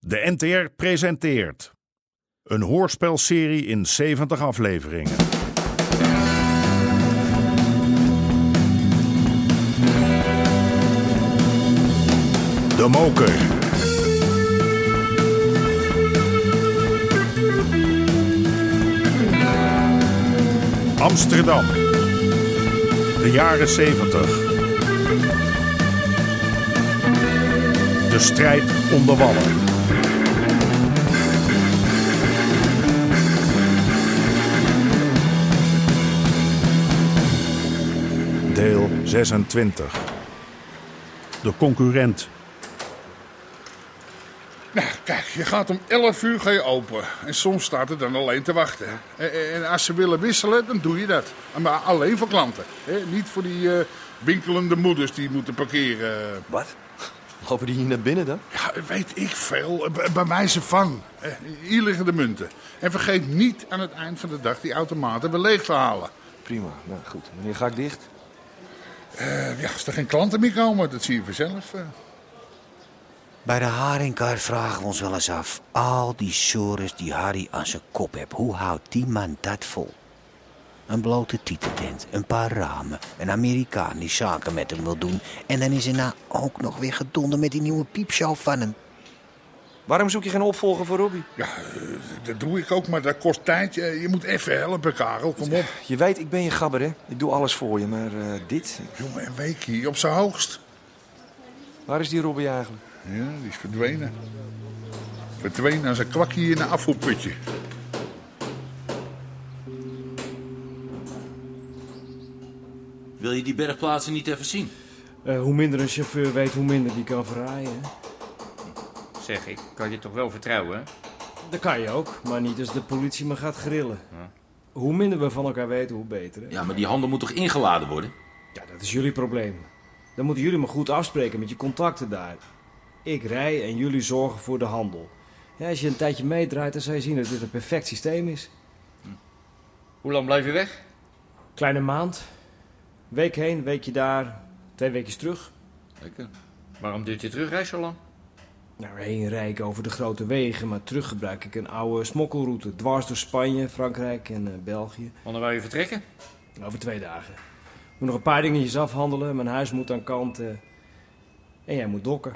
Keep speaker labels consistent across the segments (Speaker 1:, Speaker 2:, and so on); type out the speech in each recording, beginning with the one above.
Speaker 1: De NTR presenteert een hoorspelserie in 70 afleveringen. De Moker. Amsterdam. De jaren 70. De strijd om de wallen. Deel 26. De concurrent.
Speaker 2: Nou, kijk, je gaat om 11 uur ga je open. En soms staat het dan alleen te wachten. En, en- en als ze willen wisselen, dan doe je dat. Maar alleen voor klanten. Hè? Niet voor die eh, winkelende moeders die moeten parkeren.
Speaker 3: Wat? Lopen die hier naar binnen dan?
Speaker 2: Ja, weet ik veel. Eh, B- bij mij is een vang. Eh, hier liggen de munten. En vergeet niet aan het eind van de dag die automaten weer leeg te halen.
Speaker 3: Prima, nou goed. Wanneer ga ik dicht?
Speaker 2: Eh, ja, als er geen klanten meer komen, dat zie je vanzelf. eh.
Speaker 4: Bij de haringkar vragen we ons wel eens af. Al die sores die Harry aan zijn kop heeft, hoe houdt die man dat vol? Een blote tietentent, een paar ramen, een Amerikaan die zaken met hem wil doen. En dan is hij nou ook nog weer gedonden met die nieuwe piepshow van hem.
Speaker 3: Waarom zoek je geen opvolger voor Robbie?
Speaker 2: Ja, eh, dat doe ik ook, maar dat kost tijd. Je, je moet even helpen, Karel. Kom op.
Speaker 3: Je weet, ik ben je gabber, hè? Ik doe alles voor je, maar eh, dit...
Speaker 2: Jongen, een week hier op zijn hoogst.
Speaker 3: Waar is die Robbie eigenlijk?
Speaker 2: Ja, die is verdwenen. Verdwenen als een kwakkie in een afvoerputje.
Speaker 5: Wil je die bergplaatsen niet even zien?
Speaker 6: Eh, hoe minder een chauffeur weet, hoe minder die kan verraaien. hè?
Speaker 7: Zeg, ik kan je toch wel vertrouwen, hè?
Speaker 6: Dat kan je ook, maar niet als de politie me gaat grillen. Hoe minder we van elkaar weten, hoe beter. hè?
Speaker 5: Ja, maar die handel moet toch ingeladen worden?
Speaker 6: Ja, dat is jullie probleem. Dan moeten jullie me goed afspreken met je contacten daar. Ik rij en jullie zorgen voor de handel. Ja, als je een tijdje meedraait, dan zal je zien dat dit een perfect systeem is.
Speaker 7: Hoe lang blijf je weg?
Speaker 6: Kleine maand. Week heen, weekje daar. Twee weekjes terug.
Speaker 5: Lekker.
Speaker 7: Waarom duurt je terugreis zo lang?
Speaker 6: Nou, heen rij ik over de grote wegen, maar terug gebruik ik een oude smokkelroute. Dwars door Spanje, Frankrijk en eh, België.
Speaker 7: Wanneer wou je vertrekken?
Speaker 6: Over twee dagen. Moet nog een paar dingetjes afhandelen. Mijn huis moet aan kant. eh, en jij moet dokken.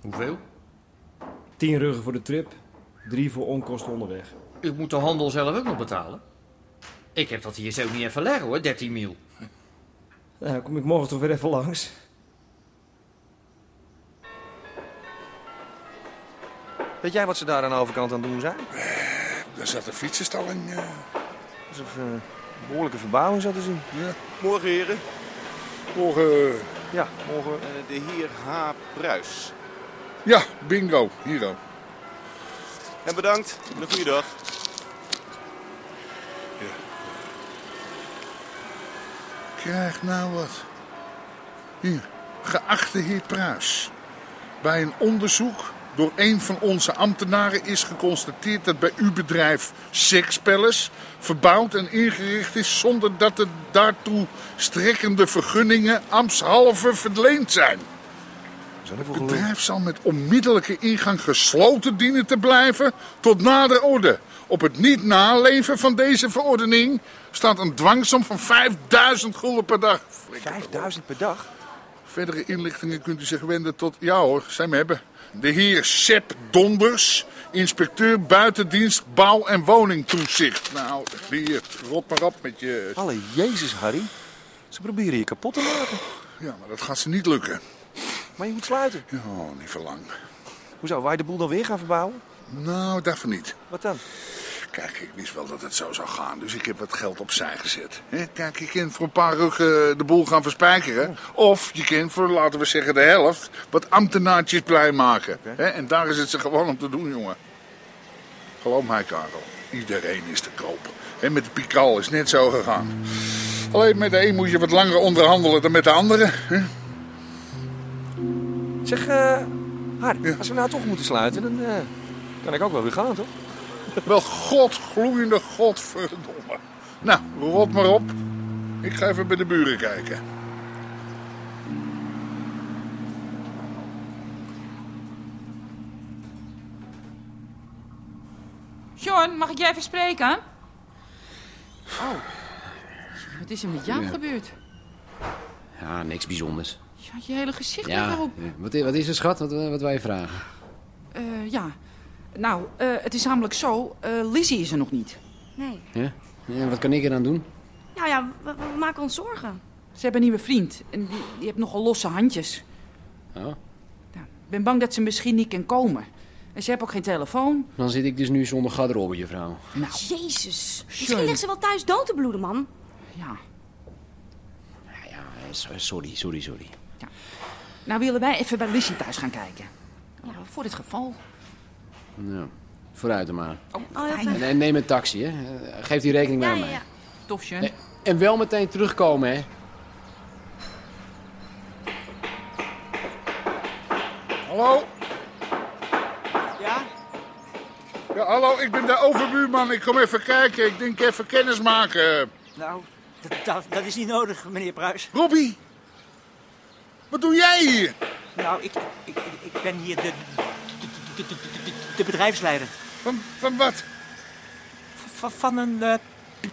Speaker 7: Hoeveel?
Speaker 6: Tien ruggen voor de trip. Drie voor onkosten onderweg.
Speaker 8: Ah,
Speaker 7: Ik moet de handel zelf ook nog betalen. Ik heb dat hier zo niet even leggen, hoor, 13 mil.
Speaker 6: Nou, kom ik morgen toch weer even langs.
Speaker 3: Weet jij wat ze daar aan de overkant aan het doen zijn?
Speaker 2: Daar zat een fietsenstalling. eh.
Speaker 3: Alsof eh, een behoorlijke verbouwing zat te zien.
Speaker 9: Morgen heren.
Speaker 2: Morgen. eh,
Speaker 3: Ja, morgen.
Speaker 9: de heer H. Pruis.
Speaker 2: Ja, bingo. Hier ook.
Speaker 9: En bedankt. En een goede dag.
Speaker 2: Krijg nou wat. Hier. Geachte heer Pruis. Bij een onderzoek door een van onze ambtenaren is geconstateerd dat bij uw bedrijf Sex Palace verbouwd en ingericht is zonder dat de daartoe strekkende vergunningen ambtshalve verleend zijn.
Speaker 3: Is dat
Speaker 2: Het
Speaker 3: even gelul?
Speaker 2: bedrijf zal met onmiddellijke ingang gesloten dienen te blijven tot nader orde. Op het niet naleven van deze verordening staat een dwangsom van 5000 gulden per dag. Flikker.
Speaker 3: 5000 per dag?
Speaker 2: Verdere inlichtingen kunt u zich wenden tot, ja hoor, zij me hebben. De heer Sepp Donders, inspecteur buitendienst bouw- en woningtoezicht. Nou, hier, rot maar op met je...
Speaker 3: Alle jezus, Harry. Ze proberen je kapot te maken.
Speaker 2: Ja, maar dat gaat ze niet lukken.
Speaker 3: Maar je moet sluiten.
Speaker 2: Oh, niet verlang.
Speaker 3: Hoezo, wij de boel dan weer gaan verbouwen?
Speaker 2: Nou, daarvan niet.
Speaker 3: Wat dan?
Speaker 2: Kijk, ik wist wel dat het zo zou gaan, dus ik heb wat geld opzij gezet. Hè, Kijk, je kunt voor een paar ruggen de boel gaan verspijkeren. Of je kunt voor, laten we zeggen, de helft wat ambtenaartjes blij maken. Hè, En daar is het ze gewoon om te doen, jongen. Geloof mij, Karel. Iedereen is te koop. En met de Pikal is het net zo gegaan. Alleen met de een moet je wat langer onderhandelen dan met de andere. hè.
Speaker 3: Zeg, eh Har, als we nou toch moeten sluiten, dan eh, kan ik ook wel weer gaan, toch?
Speaker 2: Wel godgloeiende godverdomme. Nou, rot maar op. Ik ga even bij de buren kijken.
Speaker 10: John, mag ik jij even spreken? Oh, wat is er met jou
Speaker 8: Oh. Ja.
Speaker 10: gebeurd?
Speaker 8: Ja, niks bijzonders.
Speaker 10: Je had je hele gezicht
Speaker 8: Ja,
Speaker 10: erop.
Speaker 8: ja. eh, wat, i- wat is er, schat? Wat, eh, wat wij vragen?
Speaker 10: Eh, ja. Nou, eh, het is namelijk zo, eh Lizzie is er nog niet.
Speaker 11: Nee.
Speaker 8: Ja? Ja, wat kan ik eraan doen?
Speaker 11: Nou ja, we, we maken ons zorgen.
Speaker 10: Ze hebben een nieuwe vriend en die, die heeft nogal losse handjes. Nou,
Speaker 8: Oh.
Speaker 10: Ik ben bang dat ze misschien niet kan komen. En ze heeft ook geen telefoon.
Speaker 8: Dan zit ik dus nu zonder garderobe, juffrouw.
Speaker 10: Nou,
Speaker 11: Jezus.
Speaker 10: Sorry.
Speaker 11: Misschien ligt ze wel thuis dood te bloeden, man.
Speaker 10: ja.
Speaker 8: Ja, eh, so- sorry, sorry, sorry.
Speaker 10: Nou willen wij even bij Lizzie thuis gaan kijken. Eh, voor dit geval.
Speaker 8: Nou, vooruit dan maar.
Speaker 10: Oh,
Speaker 11: Oh, ja,
Speaker 8: En,
Speaker 11: fijn.
Speaker 8: en neem een taxi, hè. Eh, Geef die rekening maar
Speaker 11: ja,
Speaker 8: aan
Speaker 11: ja,
Speaker 8: mij.
Speaker 11: ja.
Speaker 10: Tof, John.
Speaker 8: Nee, En wel meteen terugkomen, hè.
Speaker 2: Hallo?
Speaker 9: Ja?
Speaker 2: Ja, hallo, ik ben de overbuurman. Ik kom even kijken. Ik denk even kennis maken.
Speaker 12: Nou, dat, dat, dat is niet nodig, meneer Pruis.
Speaker 2: Robbie, wat doe jij hier?
Speaker 12: Nou, ik, ik, ik ben hier de, de, de, de- de bedrijfsleider.
Speaker 2: Van, van wat?
Speaker 12: Van, van een eh, piep-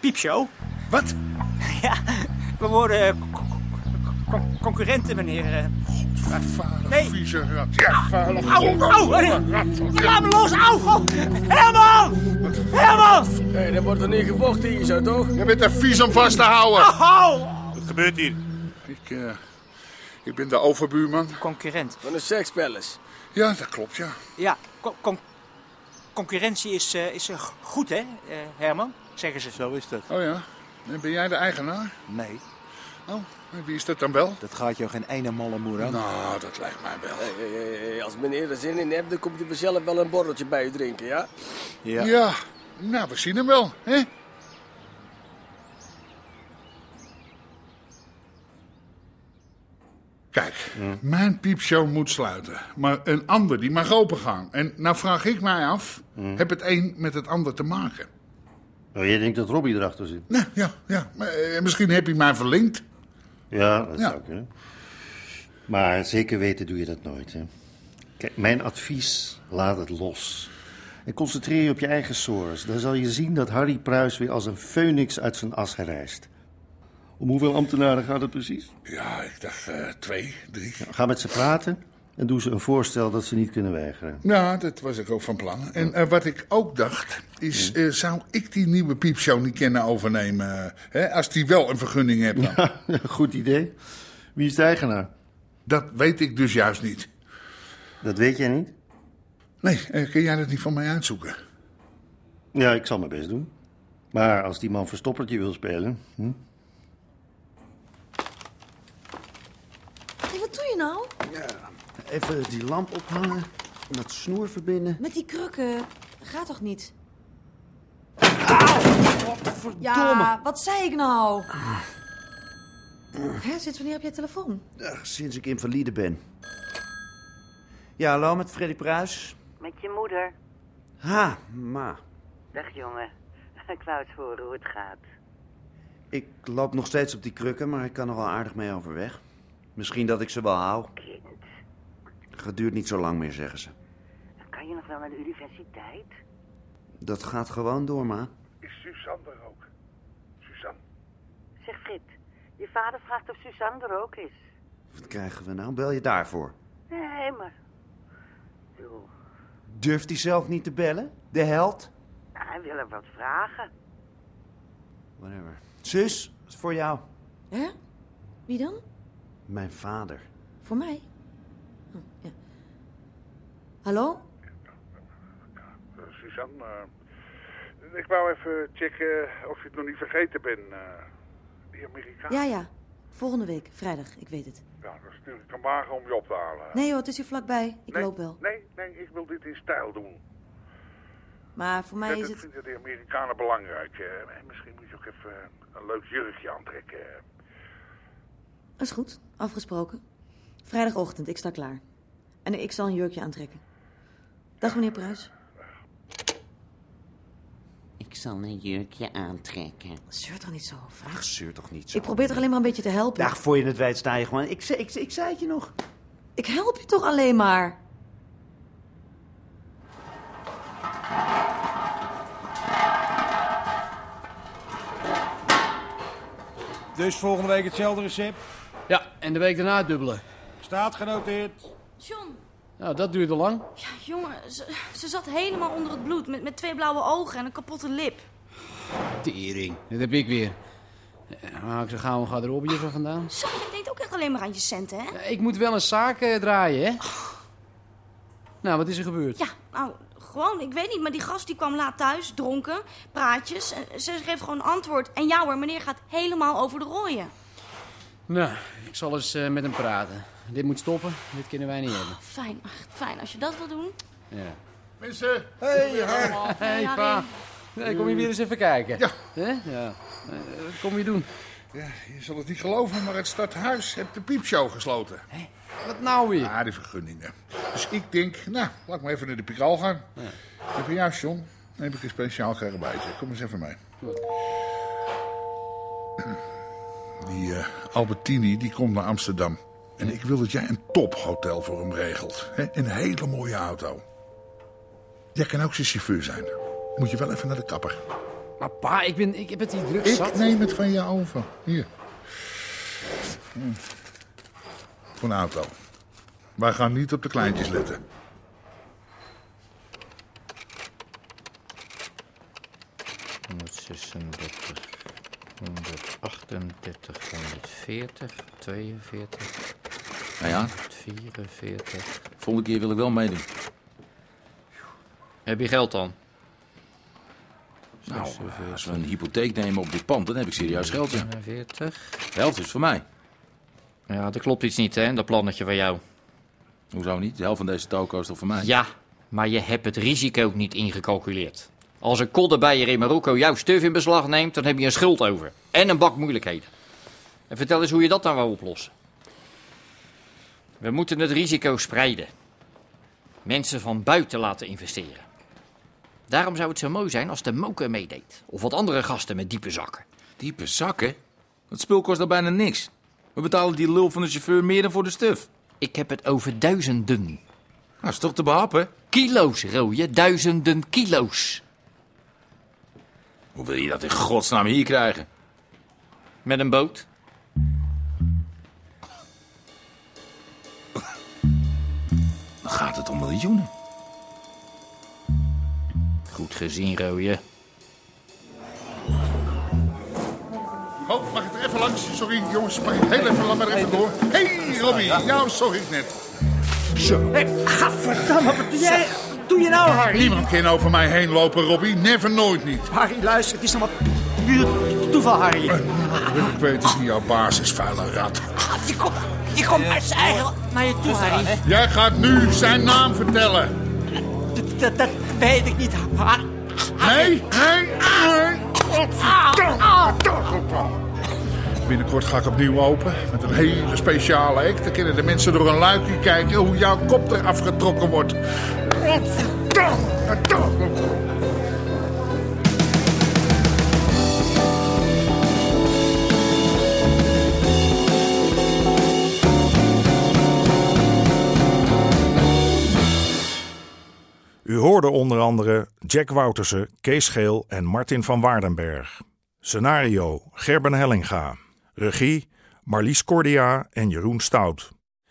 Speaker 12: piepshow.
Speaker 2: Wat?
Speaker 12: ja, we worden eh, co- co- co- concurrenten, meneer. eh.
Speaker 2: Vader,
Speaker 12: Nee.
Speaker 2: vieze rat. Ja, vuile
Speaker 12: Au, au, eh, laat me los, au! oh. Herman! Herman!
Speaker 13: Hé, dat wordt er niet gevochten hier zo, toch?
Speaker 2: Je bent er vies om vast te houden.
Speaker 12: Au!
Speaker 2: Wat gebeurt hier? Ik, eh, ik ben de overbuurman.
Speaker 12: Concurrent.
Speaker 13: Van een sekspelles.
Speaker 2: Ja, dat klopt, ja.
Speaker 12: Ja, co- con- concurrentie is, eh, is eh, goed, hè, eh, Herman? Zeggen ze. Zo is dat.
Speaker 2: Oh ja. En ben jij de eigenaar?
Speaker 14: Nee,
Speaker 2: Oh, en wie is dat dan wel?
Speaker 14: dat gaat jou geen ene malle moer aan.
Speaker 2: Nou, dat lijkt mij wel.
Speaker 13: Hé, hé, hé, hé, Eh, Als meneer er zin in hebt, dan komt hij vanzelf wel een borreltje bij u drinken, ja?
Speaker 2: Ja. Nou, we zien hem wel, hè? Kijk, mijn piepshow moet sluiten. Maar een ander die mag opengaan. En nou vraag ik mij af, heb het een met het ander te maken?
Speaker 15: Nou, jij denkt dat Robbie erachter zit.
Speaker 2: Nou, ja, ja. Maar, eh, misschien heb je mij verlinkt.
Speaker 15: Ja, dat
Speaker 2: Ja.
Speaker 15: zou kunnen. Maar zeker weten doe je dat nooit. Hè? Kijk, mijn advies, laat het los. En concentreer je op je eigen source. Dan zal je zien dat Harry Pruis weer als een phoenix uit zijn as herrijst. Om hoeveel ambtenaren gaat het precies?
Speaker 2: Ja, ik dacht eh, twee, drie.
Speaker 15: Ga met ze praten en doe ze een voorstel dat ze niet kunnen weigeren.
Speaker 2: Ja, Nou, dat was ik ook van plan. En eh, wat ik ook dacht, is eh, zou ik die nieuwe piepshow niet kunnen overnemen? eh, hè, als die wel een vergunning hebt dan.
Speaker 15: Goed idee. Wie is de eigenaar?
Speaker 2: Dat weet ik dus juist niet.
Speaker 15: Dat weet jij niet?
Speaker 2: Nee, eh, kun jij dat niet van mij uitzoeken?
Speaker 15: Ja, ik zal mijn best doen. Maar als die man verstoppertje wil spelen... Hm?
Speaker 11: Hé, wat doe je nou?
Speaker 15: Even die lamp ophangen en dat snoer verbinden.
Speaker 11: Met die krukken. Gaat toch niet?
Speaker 15: Verdomme.
Speaker 11: Ja, wat zei ik nou? Hè, sinds wanneer heb jij telefoon?
Speaker 14: Ach, sinds ik invalide ben. Ja, hallo met Freddy Pruis.
Speaker 16: Met je moeder.
Speaker 14: Ha, ma.
Speaker 16: Dag jongen. Ik wou eens horen hoe het gaat.
Speaker 14: Ik loop nog steeds op die krukken, maar ik kan er wel aardig mee overweg. Misschien dat ik ze wel hou.
Speaker 16: Kind,
Speaker 14: Het duurt niet zo lang meer, zeggen ze.
Speaker 16: kan je nog wel naar de universiteit?
Speaker 14: Dat gaat gewoon door, ma.
Speaker 16: Is Suzanne er ook? Suzanne? Zeg Frit, je vader vraagt of Suzanne er ook is.
Speaker 14: Wat krijgen we nou? Bel je daarvoor?
Speaker 16: Nee, maar... Joh,
Speaker 14: Durft hij zelf niet te bellen? De held?
Speaker 16: hij wil hem wat vragen.
Speaker 14: Whatever. Zus, is voor jou.
Speaker 11: Hè? Wie dan?
Speaker 14: Mijn vader.
Speaker 11: Voor mij? Hm, ja. Hallo?
Speaker 2: Eh, Suzanne, eh, ik wou even checken of je het nog niet vergeten bent. eh, die Amerikaan.
Speaker 11: Ja, ja. Volgende week, vrijdag, ik weet het.
Speaker 2: Ja, dan stuur ik een wagen om je op te halen.
Speaker 11: Nee hoor, het is hier vlakbij. Ik loop wel.
Speaker 2: Nee, nee, ik wil dit in stijl doen.
Speaker 11: Maar voor mij
Speaker 2: Ja,
Speaker 11: is
Speaker 2: dat
Speaker 11: het...
Speaker 2: vinden de Amerikanen belangrijk. eh, en misschien moet je ook even eh, een leuk jurkje aantrekken.
Speaker 11: Is goed, afgesproken. Vrijdagochtend, ik sta klaar. En ik zal een jurkje aantrekken. Dag meneer Pruis.
Speaker 16: Ik zal een jurkje aantrekken.
Speaker 11: Zeur toch niet zo, vraag.
Speaker 14: Zeur toch niet zo.
Speaker 11: Ik probeer toch alleen maar een beetje te helpen.
Speaker 14: Dag, voor je het weet sta je gewoon. Ik, ze- ik, ze- ik zei het je nog.
Speaker 11: Ik help je toch alleen maar.
Speaker 14: Dus volgende week hetzelfde recept?
Speaker 6: Ja, en de week daarna het dubbele.
Speaker 14: Staat genoteerd.
Speaker 11: John,
Speaker 6: Nou, dat duurde lang.
Speaker 11: ja, jongen, ze, ze zat helemaal onder het bloed. Met, met twee blauwe ogen en een kapotte lip.
Speaker 6: Tering, dat heb ik weer. Ja, Maar ik zo gauw een garderobe hier vandaan.
Speaker 11: Zo, jij denkt ook echt alleen maar aan je centen, hè?
Speaker 6: Ik moet wel een zaak eh, draaien, hè? Nou, wat is er gebeurd?
Speaker 11: Ja, nou, gewoon, ik weet niet, maar die gast die kwam laat thuis, dronken, praatjes. En ze geeft gewoon antwoord. En ja hoor, meneer gaat helemaal over de rooien.
Speaker 6: Nou, ik zal eens eh, met hem praten. Dit moet stoppen, dit kunnen wij niet hebben.
Speaker 11: Fijn, ach, fijn, als je dat wil doen.
Speaker 6: Ja.
Speaker 2: Mensen.
Speaker 14: Hey,
Speaker 6: Hey, pa. Nee, kom je weer eens even kijken? Ja. ja. Eh, wat kom je doen?
Speaker 2: Ja, je zal het niet geloven, maar het stadhuis heeft de piepshow gesloten.
Speaker 6: Wat nou weer?
Speaker 2: Ah, die vergunningen. Dus ik denk, nou, laat ik maar even naar de Pikal gaan. En van jou, John, dan heb ik een speciaal karabijtje. Kom eens even mee. Die eh, Albertini, die komt naar Amsterdam. En ik wil dat jij een tophotel voor hem regelt. hè? Een hele mooie auto. Jij kan ook zijn chauffeur zijn. Moet je wel even naar de kapper.
Speaker 6: Maar pa, ik, ben, ik heb het hier druk
Speaker 2: Ik
Speaker 6: zat.
Speaker 2: neem het van je over. Hier. Hm. Voor een auto. Wij gaan niet op de kleintjes letten.
Speaker 15: Nou ja.
Speaker 7: 44.
Speaker 15: Volgende keer wil ik wel meedoen.
Speaker 7: Heb je geld dan?
Speaker 15: Nou, als we een hypotheek nemen op dit pand, dan heb ik serieus geld, ja. De helft is voor mij.
Speaker 7: Ja, er klopt iets niet, hè, dat plannetje van jou.
Speaker 15: Hoezo niet? De helft van deze toko is toch voor mij?
Speaker 7: Ja, maar je hebt het risico niet ingecalculeerd. Als een koddenbijer in Marokko jouw stuf in beslag neemt, dan heb je een schuld over. En een bak moeilijkheden. En vertel eens hoe je dat dan wou oplossen. We moeten het risico spreiden. Mensen van buiten laten investeren. Daarom zou het zo mooi zijn als de moker meedeed. Of wat andere gasten met diepe zakken.
Speaker 15: Diepe zakken? Dat spul kost dan bijna niks. We betalen die lul van de chauffeur meer dan voor de stuf.
Speaker 7: Ik heb het over duizenden. Nou,
Speaker 15: dat is toch te behappen?
Speaker 7: Kilo's, rooie. Duizenden kilo's.
Speaker 15: Hoe wil je dat in godsnaam hier krijgen?
Speaker 7: Met een boot.
Speaker 15: Dan gaat het om miljoenen.
Speaker 7: Goed gezien, rooie.
Speaker 2: Oh, mag ik er even langs? Sorry, jongens, mag ik heel even, laat maar even door. Hé, hey, Robbie, jou zag ik net. Zo. Hey,
Speaker 14: gadverdamme, wat doe jij- wat doe je nou, Harry?
Speaker 2: Niemand kan over mij heen lopen, Robbie. Never, nooit niet.
Speaker 14: Harry, luister, het is nog maar puur toeval, Harry.
Speaker 2: Ik weet het niet, jouw baas is vuile rat.
Speaker 14: Je komt, je komt uit zijn eigen naar je toe, Harry.
Speaker 2: Jij gaat nu zijn naam vertellen.
Speaker 14: Dat, dat, dat weet ik niet, Har-
Speaker 2: Harry. Nee, nee, Binnenkort ga ik opnieuw open met een hele speciale act. Dan kunnen de mensen door een luikje kijken hoe jouw kop er afgetrokken wordt.
Speaker 1: U hoorde onder andere Jack Woutersen, Kees Geel en Martin van Waardenberg. Scenario Gerben Hellinga. Regie Marlies Cordia en Jeroen Stout.